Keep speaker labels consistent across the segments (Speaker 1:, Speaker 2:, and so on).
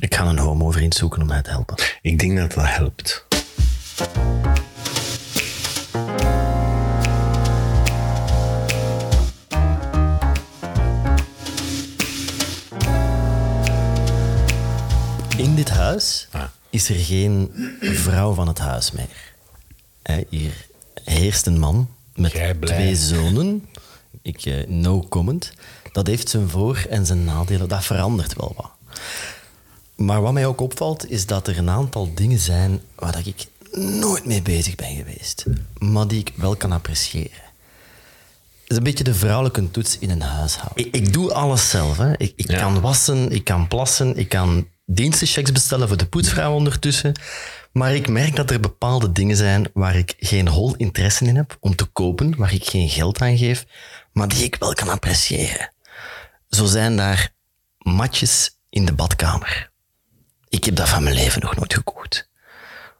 Speaker 1: Ik ga een homo-vriend zoeken om mij te helpen.
Speaker 2: Ik denk dat dat helpt.
Speaker 1: In dit huis
Speaker 2: Ah.
Speaker 1: is er geen vrouw van het huis meer. Hè, hier heerst een man met
Speaker 2: Jij blij.
Speaker 1: twee zonen. Ik, eh, no comment. Dat heeft zijn voor- en zijn nadelen. Dat verandert wel wat. Maar wat mij ook opvalt, is dat er een aantal dingen zijn waar dat ik nooit mee bezig ben geweest. Maar die ik wel kan appreciëren. Het is een beetje de vrouwelijke toets in een huishouden. Ik, ik doe alles zelf. Hè. Ik, ik
Speaker 2: Ja.
Speaker 1: kan wassen, ik kan plassen, ik kan dienstenchecks bestellen voor de poetsvrouw ondertussen. Maar ik merk dat er bepaalde dingen zijn waar ik geen hol interesse in heb om te kopen, waar ik geen geld aan geef, maar die ik wel kan appreciëren. Zo zijn daar matjes in de badkamer. Ik heb dat van mijn leven nog nooit gekocht.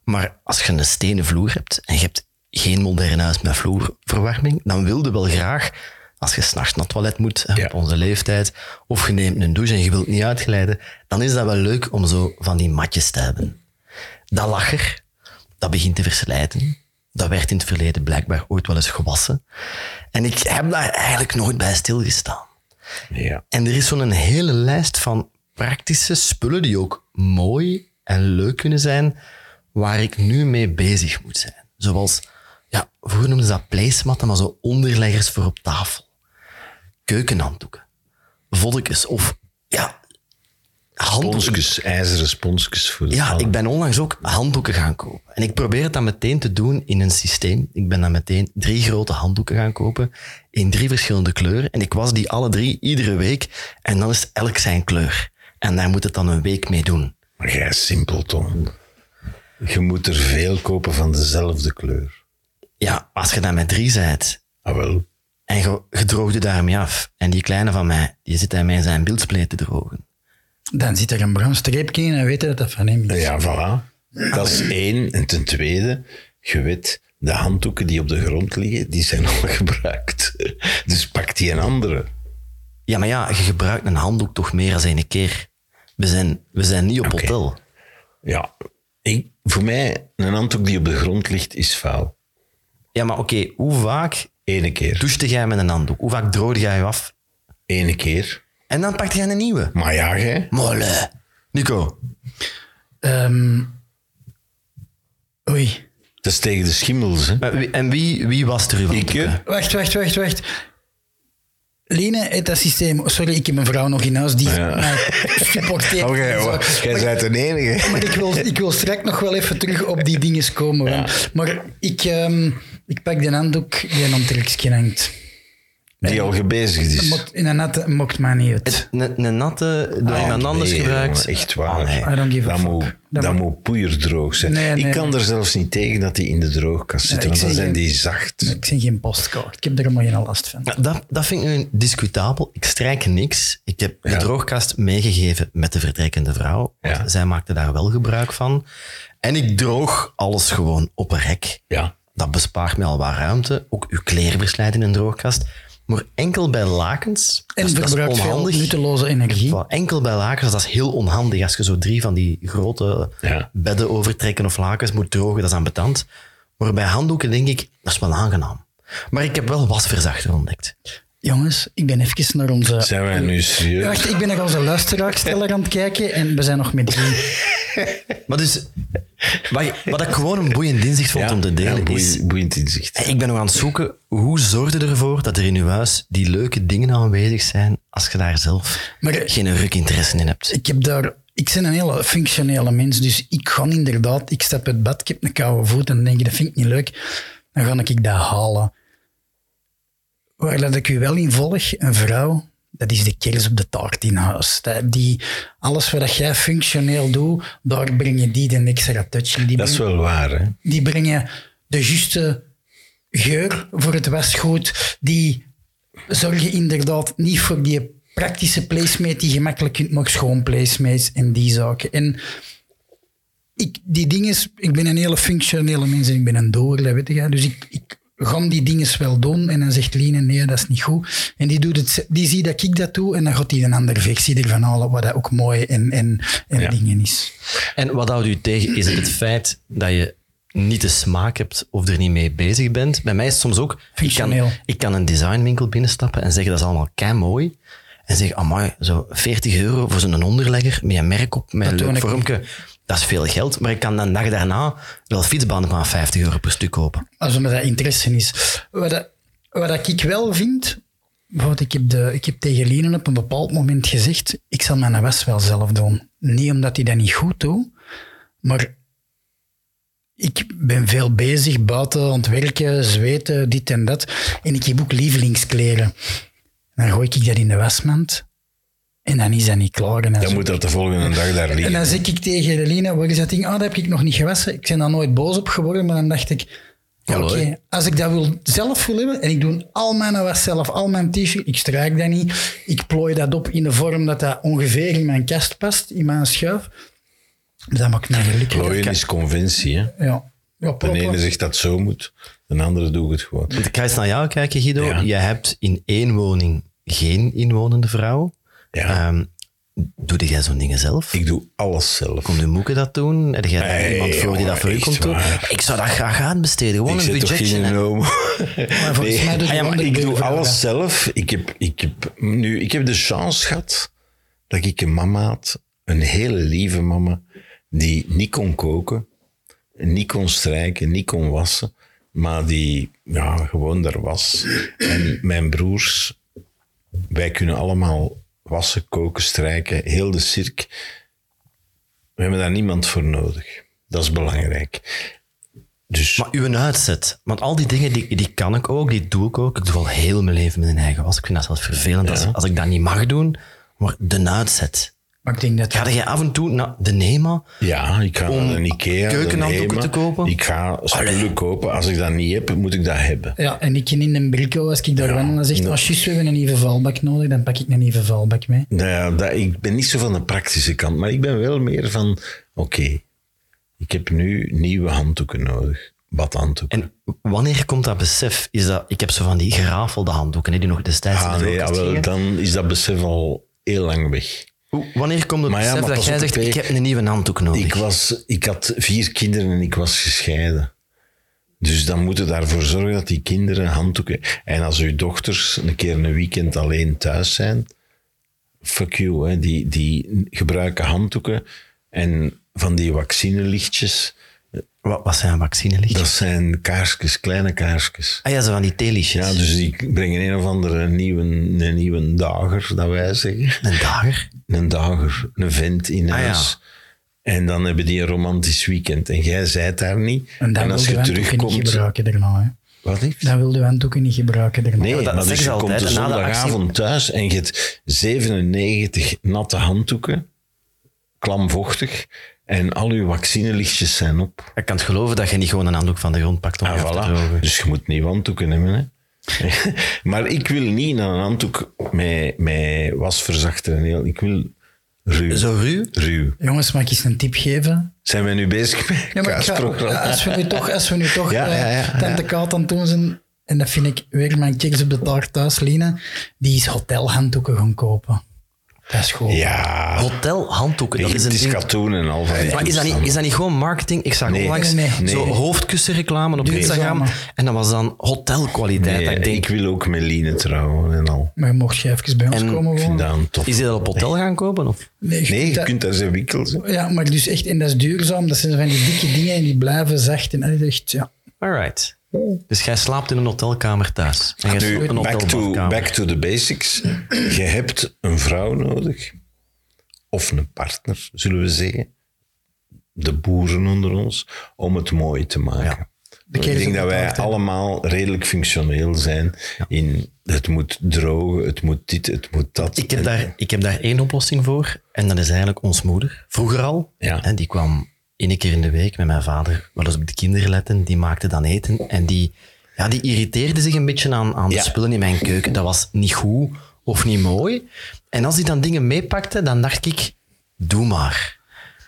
Speaker 1: Maar als je een stenen vloer hebt en je hebt geen modern huis met vloerverwarming, dan wil je wel graag, als je s'nachts naar het toilet moet, hè,
Speaker 2: Ja.
Speaker 1: op onze leeftijd, of je neemt een douche en je wilt niet uitglijden, dan is dat wel leuk om zo van die matjes te hebben. Dat lacher, dat begint te verslijten. Dat werd in het verleden blijkbaar ooit wel eens gewassen. En ik heb daar eigenlijk nooit bij stilgestaan.
Speaker 2: Ja.
Speaker 1: En er is zo'n hele lijst van praktische spullen die ook mooi en leuk kunnen zijn, waar ik nu mee bezig moet zijn. Zoals, ja, vroeger noemden ze dat placematten, maar zo onderleggers voor op tafel. Keukenhanddoeken. Vodkes of, ja, handdoeken.
Speaker 2: Sponsjes, ijzeren sponsjes voor de
Speaker 1: Ja,
Speaker 2: vallen.
Speaker 1: ik ben onlangs ook handdoeken gaan kopen. En ik probeer het dan meteen te doen in een systeem. Ik ben dan meteen drie grote handdoeken gaan kopen in drie verschillende kleuren. En ik was die alle drie iedere week. En dan is elk zijn kleur. En daar moet het dan een week mee doen.
Speaker 2: Maar jij is simpelton. Je moet er veel kopen van dezelfde kleur.
Speaker 1: Ja, als je dan met drie bent
Speaker 2: Ah wel.
Speaker 1: en je, je droogt je daarmee af. En die kleine van mij, die zit daarmee in zijn beeldspleet te drogen.
Speaker 3: Dan zit er een bruin streepje in en weet je dat dat van hem is.
Speaker 2: Ja, voilà. Dat is één. En ten tweede, je weet, de handdoeken die op de grond liggen, die zijn al gebruikt. Dus pak die een andere.
Speaker 1: Ja, maar ja, je gebruikt een handdoek toch meer dan één keer. We zijn, we zijn niet op
Speaker 2: Oké.
Speaker 1: hotel.
Speaker 2: Ja. Ik, voor mij, een handdoek die op de grond ligt, is vuil.
Speaker 1: Ja, maar oké, hoe vaak
Speaker 2: Ene keer.
Speaker 1: douchte jij met een handdoek? Hoe vaak droogde jij je af
Speaker 2: Ene keer.
Speaker 1: En dan pakte jij een nieuwe.
Speaker 2: Maar ja, jij.
Speaker 1: Molle. Nico.
Speaker 3: Ehm, oei.
Speaker 2: Dat is tegen de schimmels, hè.
Speaker 1: Maar wie- En wie, wie was er uw
Speaker 2: Ik,
Speaker 1: handdoek, hè?
Speaker 2: hè.
Speaker 3: Wacht, wacht, wacht, wacht. Lene, het dat systeem... oh, Sorry, ik heb een vrouw nog in huis die mij supporteert.
Speaker 2: Oh, jij-
Speaker 3: Zo.
Speaker 2: jij
Speaker 3: Maar-
Speaker 2: bent de enige.
Speaker 3: Maar ik wil, ik wil straks nog wel even terug op die dingen komen. want- Maar ik, ehm, ik pak de handdoek die een omtrekje hangt.
Speaker 2: Die al gebezigd is.
Speaker 3: Mot- In een natte mokt mij niet uit.
Speaker 1: Een een natte, door iemand anders
Speaker 2: Ah, nee,
Speaker 1: gebruikt.
Speaker 2: jongen, echt waar.
Speaker 1: Ah, nee.
Speaker 3: I don't give a
Speaker 2: dat,
Speaker 3: fuck.
Speaker 2: moet,
Speaker 3: Dat
Speaker 2: dat,
Speaker 3: moet-
Speaker 2: moet poeierdroog zijn.
Speaker 3: Nee, nee,
Speaker 2: ik kan
Speaker 3: nee.
Speaker 2: er zelfs niet tegen dat die in de droogkast zitten,
Speaker 3: ik
Speaker 2: want dan
Speaker 3: zie
Speaker 2: zijn
Speaker 3: geen-
Speaker 2: die zacht.
Speaker 3: Ik ben geen postkaart. Ik heb er helemaal geen last van.
Speaker 1: Dat, dat vind ik nu discutabel. Ik strijk niks. Ik heb de droogkast meegegeven met de vertrekkende vrouw. want
Speaker 2: Ja.
Speaker 1: Zij maakte daar wel gebruik van. En ik droog alles gewoon op een rek.
Speaker 2: Ja.
Speaker 1: Dat bespaart mij al wat ruimte. Ook uw kleren verslijten in een droogkast. Maar enkel bij lakens.
Speaker 3: En
Speaker 1: dat is- dat is
Speaker 3: verbruikt veel
Speaker 1: onhandig.
Speaker 3: nutteloze
Speaker 2: Hm?
Speaker 3: energie.
Speaker 1: Wel, enkel bij lakens, dat is heel onhandig. Als je zo drie van die grote
Speaker 2: Ja.
Speaker 1: bedden overtrekken of lakens moet drogen, dat is ambetant. Maar bij handdoeken denk ik, dat is wel aangenaam. Maar ik heb wel wasverzachter ontdekt.
Speaker 3: Jongens, ik ben even naar onze...
Speaker 2: Zijn wij nu serieus?
Speaker 3: Wacht, ik ben naar onze luisteraarsteller aan het kijken en we zijn nog met drie.
Speaker 1: Maar dus, wat, ik- wat ik gewoon een boeiend inzicht vond om te delen
Speaker 2: ja, boei-
Speaker 1: is...
Speaker 2: boeiend inzicht.
Speaker 1: Ik ben nog aan het zoeken, hoe zorg je ervoor dat er in je huis die leuke dingen aanwezig zijn als je daar zelf
Speaker 3: Maar eh,
Speaker 1: geen ruk interesse in hebt?
Speaker 3: ik heb daar... Ik ben een hele functionele mens, dus ik ga inderdaad... Ik stap uit bed, ik heb een koude voet en dan denk ik, dat vind ik niet leuk. Dan ga ik dat halen. Waar dat ik u wel in volg, een vrouw, dat is de kers op de taart in huis. Dat- Die, alles wat dat jij functioneel doet, daar breng je die de extra touch. in. Die
Speaker 2: Dat is
Speaker 3: breng-
Speaker 2: wel waar, hè?
Speaker 3: die brengen de juiste geur voor het wasgoed. Die zorgen inderdaad niet voor die praktische placemate die je gemakkelijk kunt maken, schoon placemates en die zaken. En ik, die dingen, ik ben een hele functionele mens en ik ben een doer, dat weet je. Dus ik, ik gaan die dingen wel doen? En dan zegt Line, nee, dat is niet goed. En die, doet het, die ziet dat ik dat doe en dan gaat hij een andere versie ervan halen, wat dat ook mooi en, en, en
Speaker 2: Ja.
Speaker 3: dingen is.
Speaker 1: En wat houdt u tegen? Is het het feit dat je niet de smaak hebt of er niet mee bezig bent? Bij mij is het soms ook... Ik kan,
Speaker 3: Functioneel.
Speaker 1: ik kan een designwinkel binnenstappen en zeggen dat is allemaal kei mooi. En zeggen, amai, zo 40 euro voor zo'n onderlegger met een merk op, met een
Speaker 3: Dat doe
Speaker 1: leuk
Speaker 3: ik
Speaker 1: vormpje. Dat is veel geld, maar ik kan dan dag daarna wel fietsbanden van 50 euro per stuk kopen.
Speaker 3: Als er maar dat interesse is. Wat, dat- wat dat ik wel vind, bijvoorbeeld ik heb, de, ik heb tegen Lien op een bepaald moment gezegd, ik zal mijn was wel zelf doen. Niet omdat hij dat niet goed doet, maar ik ben veel bezig buiten, ontwerken, zweten, dit en dat. En ik heb ook lievelingskleren. Dan gooi ik dat in de wasmand en dan is dat niet klaar. En dan
Speaker 2: Dan moet dat de volgende dag daar
Speaker 3: en
Speaker 2: liggen.
Speaker 3: dan zeg ik tegen Lina, waar is dat ding? Ah, dat heb ik nog niet gewassen. Ik ben daar nooit boos op geworden, maar dan dacht ik... Oké,
Speaker 1: Hallo, hè?
Speaker 3: als ik dat wil, zelf wil hebben, en ik doe al mijn was zelf, al mijn t-shirt, ik strijk dat niet, ik plooi dat op in de vorm dat dat ongeveer in mijn kast past, in mijn schuif, dat maakt mij gelukkig.
Speaker 2: Plooien is conventie. Hè?
Speaker 3: Ja. Ja,
Speaker 2: De
Speaker 3: plop, plop.
Speaker 2: ene zegt dat zo moet, de andere doet het gewoon.
Speaker 1: Want ik ga eens naar jou kijken, Guido.
Speaker 2: Ja.
Speaker 1: Jij hebt in één woning geen inwonende vrouw.
Speaker 2: Ja.
Speaker 1: Ehm, doe jij zo'n dingen zelf?
Speaker 2: Ik doe alles zelf.
Speaker 1: Komt de Moeke dat doen? Heb jij daar
Speaker 2: Nee,
Speaker 1: iemand voor die dat voor u
Speaker 2: jongen,
Speaker 1: komt
Speaker 2: oh, echt
Speaker 1: doen?
Speaker 2: waar.
Speaker 1: Ik zou dat graag aanbesteden. Gewoon
Speaker 2: Ik
Speaker 1: een
Speaker 2: zit toch
Speaker 1: budgetje.
Speaker 2: geen
Speaker 1: hè.
Speaker 2: homo.
Speaker 3: Maar volgens mij doet
Speaker 2: Ah ja, maar
Speaker 3: andere
Speaker 2: ik doe
Speaker 3: buurvrouw
Speaker 2: alles
Speaker 3: dat.
Speaker 2: zelf. Ik heb, ik, heb, nu, ik heb de chance gehad dat ik een mama had, een hele lieve mama, die niet kon koken, niet kon strijken, niet kon wassen, maar die ja, gewoon er was. En mijn broers, wij kunnen allemaal wassen, koken, strijken, heel de cirk. We hebben daar niemand voor nodig. Dat is belangrijk. Dus
Speaker 1: Maar uw uitzet. Want al die dingen, die, die kan ik ook, die doe ik ook. Ik doe al heel mijn leven mijn eigen was. Ik vind dat zelfs vervelend als, als ik dat niet mag doen. Maar de uitzet.
Speaker 3: Maar ik denk dat...
Speaker 1: Ga je af en toe naar de NEMA?
Speaker 2: Ja, ik ga
Speaker 1: Om
Speaker 2: naar een Ikea.
Speaker 1: keukenhanddoeken
Speaker 2: de Hema.
Speaker 1: te kopen?
Speaker 2: Ik ga spullen kopen. Als ik dat niet heb, moet ik dat hebben.
Speaker 3: Ja, en ik ken in een brico, als ik daar wandel, dan zegt, als je we hebben een nieuwe valbak nodig, dan pak ik een nieuwe valbak mee.
Speaker 2: Nou ja, dat, ik ben niet zo van de praktische kant, maar ik ben wel meer van... Oké, ik heb nu nieuwe handdoeken nodig. Badhanddoeken.
Speaker 1: En wanneer komt dat besef? Is dat, ik heb zo van die gerafelde handdoeken hè, die nog destijds in
Speaker 2: ah,
Speaker 1: de
Speaker 2: nee,
Speaker 1: doorkast
Speaker 2: ah, wel,
Speaker 1: gingen.
Speaker 2: dan is dat besef al heel lang weg.
Speaker 1: Hoe- Wanneer komt het
Speaker 2: Maar ja,
Speaker 1: besef
Speaker 2: maar
Speaker 1: dat
Speaker 2: pas
Speaker 1: jij
Speaker 2: op,
Speaker 1: zegt,
Speaker 2: ik
Speaker 1: ik
Speaker 2: weet-
Speaker 1: heb een nieuwe handdoek nodig?
Speaker 2: Ik, was, ik had vier kinderen en ik was gescheiden. Dus dan moeten we daarvoor zorgen dat die kinderen handdoeken... En als uw dochters een keer een weekend alleen thuis zijn... Fuck you, hè. Die, die gebruiken handdoeken en van die vaccinelichtjes.
Speaker 1: Wat, wat zijn vaccinelichtjes?
Speaker 2: Dat zijn kaarsjes, kleine kaarsjes.
Speaker 1: Ah ja, zo van die theelichtjes.
Speaker 2: Ja, dus die brengen een of andere nieuwe, een nieuwe dager, dat wij zeggen
Speaker 1: Een dager.
Speaker 2: een dager, een vent in
Speaker 1: Ah, ja.
Speaker 2: huis. En dan hebben die een romantisch weekend. En jij zijt daar niet.
Speaker 3: En
Speaker 2: En,
Speaker 3: dan
Speaker 2: als
Speaker 3: wil
Speaker 2: je
Speaker 3: de handdoeken niet
Speaker 2: terugkomt...
Speaker 3: gebruiken daarna, hè.
Speaker 2: Wat heeft?
Speaker 3: Dan wil de handdoeken niet gebruiken daarna.
Speaker 2: Nee,
Speaker 1: dat
Speaker 2: maar
Speaker 1: zeggen
Speaker 2: dus
Speaker 1: ze
Speaker 2: je
Speaker 1: altijd,
Speaker 2: komt
Speaker 1: hè,
Speaker 2: de
Speaker 1: na de
Speaker 2: zondagavond thuis en je hebt 97 natte handdoeken, klamvochtig, en al je vaccinelichtjes zijn op.
Speaker 1: Ik kan het geloven dat je niet gewoon een handdoek van de grond pakt om
Speaker 2: Ah,
Speaker 1: af te drogen.
Speaker 2: voilà. Dus je moet nieuwe handdoeken hebben. Hè? maar ik wil niet naar een handdoek met, met wasverzachter en heel... Ik wil ruw.
Speaker 1: Zo ruw?
Speaker 2: Ruw.
Speaker 3: Jongens, mag ik eens een tip geven?
Speaker 2: Zijn wij nu bezig met
Speaker 3: Ja, maar ik ga-
Speaker 2: kaasprogramma?
Speaker 3: als we nu toch, als we nu toch
Speaker 2: Ja,
Speaker 3: eh,
Speaker 2: ja, ja,
Speaker 3: Tante Kaat aan het doen zijn, en dat vind ik weer mijn kiks op de taart thuis, Lina, die is hotelhanddoeken gaan kopen. Dat is goed.
Speaker 2: Ja.
Speaker 1: Hotel handdoeken, dat is een
Speaker 2: het is
Speaker 1: ding.
Speaker 2: katoen en al van die
Speaker 1: Maar is dat, niet, is
Speaker 2: toestanden.
Speaker 1: dat niet gewoon marketing? Ik zag
Speaker 2: Nee.
Speaker 1: onlangs
Speaker 3: Nee,
Speaker 2: nee.
Speaker 1: zo
Speaker 2: Nee.
Speaker 1: hoofdkussenreclame op
Speaker 3: Duur
Speaker 1: Instagram.
Speaker 3: zomaar.
Speaker 1: En dat was dan hotelkwaliteit.
Speaker 2: Nee,
Speaker 1: Dat ik denk,
Speaker 2: ik wil ook Meline trouwen en al.
Speaker 3: Maar je mocht je even bij ons
Speaker 1: En
Speaker 3: komen
Speaker 2: Ik vind
Speaker 3: wonen.
Speaker 2: dat een tof.
Speaker 1: is die dat op hotel gaan kopen? Of?
Speaker 3: Nee,
Speaker 2: Nee, je
Speaker 3: dat-
Speaker 2: kunt daar zijn wikkels. hè.
Speaker 3: Ja, maar dus echt, en dat is duurzaam, dat zijn van die dikke dingen en die blijven zacht. En dat is echt, ja.
Speaker 1: Alright. Dus jij slaapt in een hotelkamer thuis. En jij slaapt
Speaker 2: Nu,
Speaker 1: in een
Speaker 2: back to,
Speaker 1: hotelkamer.
Speaker 2: back to the basics. Je hebt een vrouw nodig. Of een partner, zullen we zeggen. De boeren onder ons. Om het mooi te maken. Ik
Speaker 3: kerels op
Speaker 2: denk
Speaker 3: de
Speaker 2: dat wij
Speaker 3: taart, hè.
Speaker 2: allemaal redelijk functioneel zijn. In het moet drogen, het moet dit, het moet dat.
Speaker 1: Ik heb,
Speaker 2: En-
Speaker 1: daar, ik heb daar één oplossing voor. En dat is eigenlijk ons moeder. Vroeger al.
Speaker 2: Ja.
Speaker 1: Hè, die kwam één keer in de week met mijn vader wel eens op de kinderen letten. Die maakte dan eten. En die, ja, die irriteerde zich een beetje aan, aan de
Speaker 2: Ja.
Speaker 1: spullen in mijn keuken. Dat was niet goed of niet mooi. En als die dan dingen meepakte, dan dacht ik, doe maar.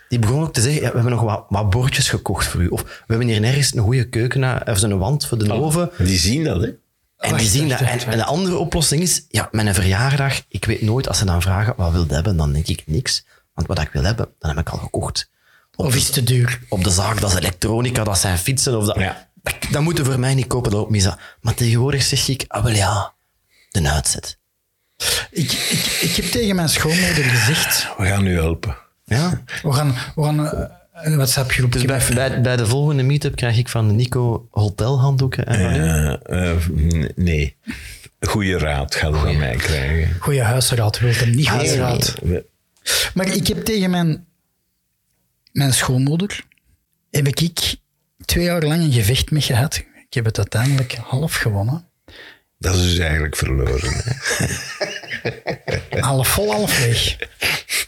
Speaker 1: Die begon ook te zeggen, ja, we hebben nog wat, wat bordjes gekocht voor u. Of we hebben hier nergens een goede keuken, eh, of zo'n wand voor de
Speaker 2: Oh.
Speaker 1: oven.
Speaker 2: Die zien dat, hè?
Speaker 1: En die
Speaker 3: Wacht,
Speaker 1: zien dat.
Speaker 3: wacht,
Speaker 1: En,
Speaker 3: wacht,
Speaker 1: en de andere oplossing is, ja, mijn verjaardag, ik weet nooit, als ze dan vragen wat wil je hebben, dan denk ik niks. Want wat ik wil hebben, dan heb ik al gekocht. Op,
Speaker 3: Of is
Speaker 1: de,
Speaker 3: het te duur?
Speaker 1: op de zaak, dat is elektronica, dat zijn fietsen. Of dat,
Speaker 2: Ja.
Speaker 1: dat, dat moeten we voor mij niet kopen, dat loopt mis aan. Maar tegenwoordig zeg ik, ah wel ja, de uitzet.
Speaker 3: Ik, ik, ik heb tegen mijn schoonmoeder gezegd,
Speaker 2: We gaan u helpen.
Speaker 1: Ja?
Speaker 3: we gaan, we gaan eh, een WhatsApp-groep...
Speaker 1: Dus bij, bij, bij de volgende meetup krijg ik van Nico hotelhanddoeken. En van u.
Speaker 2: Eh, eh, n- nee. Goeie raad gaat u van mij krijgen.
Speaker 3: Goeie huisraad, wil hem niet huisraad.
Speaker 2: We-
Speaker 3: Maar ik heb tegen mijn, mijn schoonmoeder heb ik, ik twee jaar lang een gevecht mee gehad. Ik heb het uiteindelijk half gewonnen.
Speaker 2: Dat is dus eigenlijk verloren. hè.
Speaker 3: Half vol, half leeg.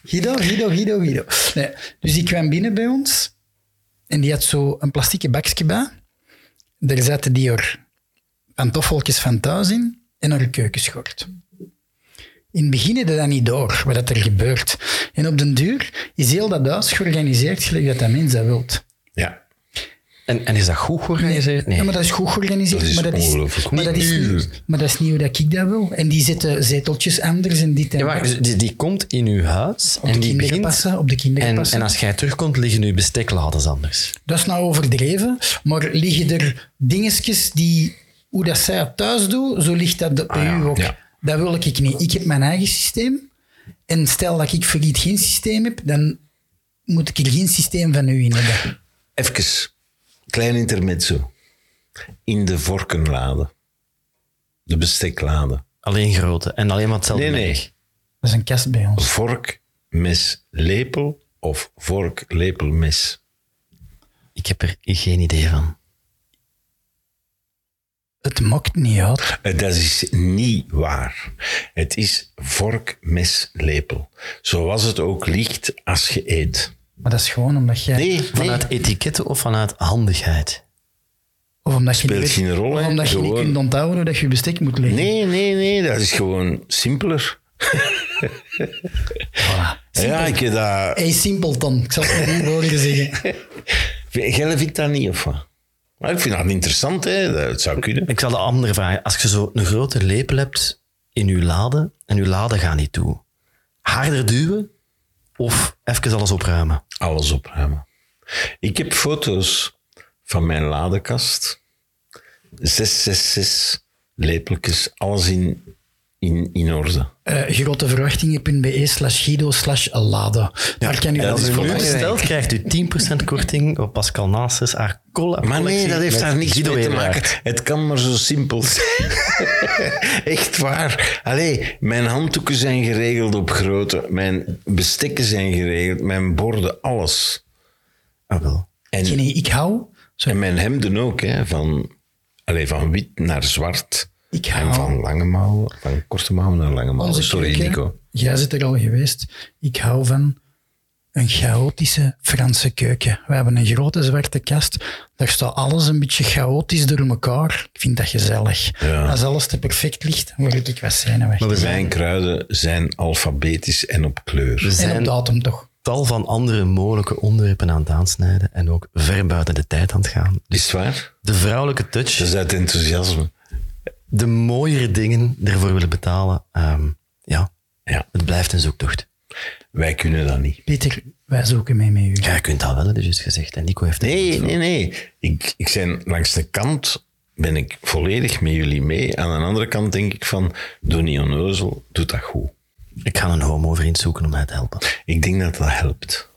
Speaker 3: Guido, Guido, Guido, Guido. Nee, dus die kwam binnen bij ons en die had zo een plastieke bakje bij. Daar zaten die er pantoffeltjes van thuis in en haar keukenschort. In het begin hadden we dat niet door, wat dat er gebeurt. En op den duur is heel dat huis georganiseerd gelijk dat dat mens dat wilt.
Speaker 2: Ja.
Speaker 1: En, en is dat goed georganiseerd? Nee.
Speaker 3: Ja, maar dat is goed georganiseerd.
Speaker 2: Dat is
Speaker 3: maar dat is,
Speaker 2: ongelooflijk goed.
Speaker 3: maar dat is,
Speaker 2: Niet
Speaker 3: niet, maar dat is niet hoe dat ik dat wil. En die zetten zeteltjes anders en dit en
Speaker 1: Ja, maar
Speaker 3: dat.
Speaker 1: dus die, die komt in uw huis
Speaker 3: Op de
Speaker 1: en die
Speaker 3: kinderen
Speaker 1: begint...
Speaker 3: passen, op de kinderen
Speaker 1: en,
Speaker 3: passen.
Speaker 1: en als jij terugkomt, liggen uw besteklades anders.
Speaker 3: Dat is nou overdreven, maar liggen er dingetjes die, hoe dat zij het thuis doet, zo ligt dat bij u ook.
Speaker 2: Ah ja.
Speaker 3: Dat wil ik niet. Ik heb mijn eigen systeem. En stel dat ik voor iets geen systeem heb, dan moet ik er geen systeem van u in hebben.
Speaker 2: Even, klein intermezzo. In de vorkenlade. De besteklade.
Speaker 1: Alleen grote en alleen maar hetzelfde. merk.
Speaker 2: Nee, nee.
Speaker 3: Dat is een kast bij ons.
Speaker 2: Vork, mes, lepel of vork, lepel, mes.
Speaker 1: Ik heb er geen idee van.
Speaker 3: Het mokt niet uit.
Speaker 2: Eh, Dat is niet waar. Het is vork, mes, lepel. Zoals het ook ligt als je eet.
Speaker 3: Maar dat is gewoon omdat jij...
Speaker 2: Nee, nee.
Speaker 1: Vanuit etiketten of vanuit handigheid?
Speaker 3: Of omdat je
Speaker 2: Speelt
Speaker 3: niet weet-
Speaker 2: geen rol,
Speaker 3: of
Speaker 2: hè.
Speaker 3: omdat je niet
Speaker 2: Gewoon-
Speaker 3: kunt onthouden hoe dat je je bestek moet leggen.
Speaker 2: Nee, nee, nee, dat is gewoon simpeler. Ja, ik heb dat...
Speaker 3: Hey, simpelton. Ik zal het met die woorden zeggen.
Speaker 2: Jij vindt dat niet, of wat? Maar ik vind dat interessant, hè. Dat zou kunnen.
Speaker 1: Ik zal de andere vragen. Als je zo een grote lepel hebt in uw lade en uw lade gaat niet toe, harder duwen of even alles opruimen?
Speaker 2: Alles opruimen. Ik heb foto's van mijn ladekast. 666 lepeltjes, alles in, in, in orde.
Speaker 3: Eh, groteverwachtingen.be E slash guido slash lade. Daar kan u wel
Speaker 2: dat is
Speaker 3: eens
Speaker 2: voor
Speaker 3: voor
Speaker 2: mij.
Speaker 3: opstellen.
Speaker 1: Besteld krijgt u 10% korting op Pascal Nasus, haar cola
Speaker 2: Maar nee,
Speaker 1: collectie
Speaker 2: dat heeft
Speaker 1: met
Speaker 2: daar niks
Speaker 1: Guido
Speaker 2: mee te
Speaker 1: Eerwaard.
Speaker 2: maken. Het kan maar zo simpel zijn. Echt waar. Allee, mijn handdoeken zijn geregeld op grootte. Mijn bestekken zijn geregeld. Mijn borden, alles.
Speaker 1: Ah, wel.
Speaker 3: Nee,
Speaker 2: En,
Speaker 3: nee, ik hou... Sorry,
Speaker 2: en mijn hemden ook, hè. Van, allee, van wit naar zwart.
Speaker 3: ik
Speaker 2: En
Speaker 3: hou...
Speaker 2: van lange mouwen, van korte mouwen naar lange mouwen.
Speaker 3: onze
Speaker 2: Sorry,
Speaker 3: keuken.
Speaker 2: Nico.
Speaker 3: Jij zit er al geweest. Ik hou van een chaotische Franse keuken. We hebben een grote zwarte kast. Daar staat alles een beetje chaotisch door elkaar. Ik vind dat gezellig. Als alles te perfect ligt, word ik wat zenuwachtig.
Speaker 2: Mijn kruiden zijn alfabetisch en op
Speaker 1: We
Speaker 2: kleur.
Speaker 3: En op
Speaker 1: zijn
Speaker 3: datum toch.
Speaker 1: tal van andere mogelijke onderwerpen aan het aansnijden en ook ver buiten de tijd aan het gaan.
Speaker 2: Is het waar?
Speaker 1: De vrouwelijke
Speaker 2: Dat
Speaker 1: touch,
Speaker 2: is uit enthousiasme.
Speaker 1: de mooiere dingen ervoor willen betalen. ehm, ja,
Speaker 2: Ja,
Speaker 1: het blijft een zoektocht.
Speaker 2: wij kunnen dat niet.
Speaker 3: Peter, wij zoeken mee met u.
Speaker 1: Ja, je kunt dat wel, dat is juist gezegd. En Nico heeft het.
Speaker 2: Nee, nee, nee. Ik, ik ben langs de kant ben ik volledig met jullie mee. Aan de andere kant denk ik van, doe niet onnozel, doe dat goed.
Speaker 1: Ik ga een homo-vriend zoeken om mij te helpen.
Speaker 2: Ik denk dat dat helpt.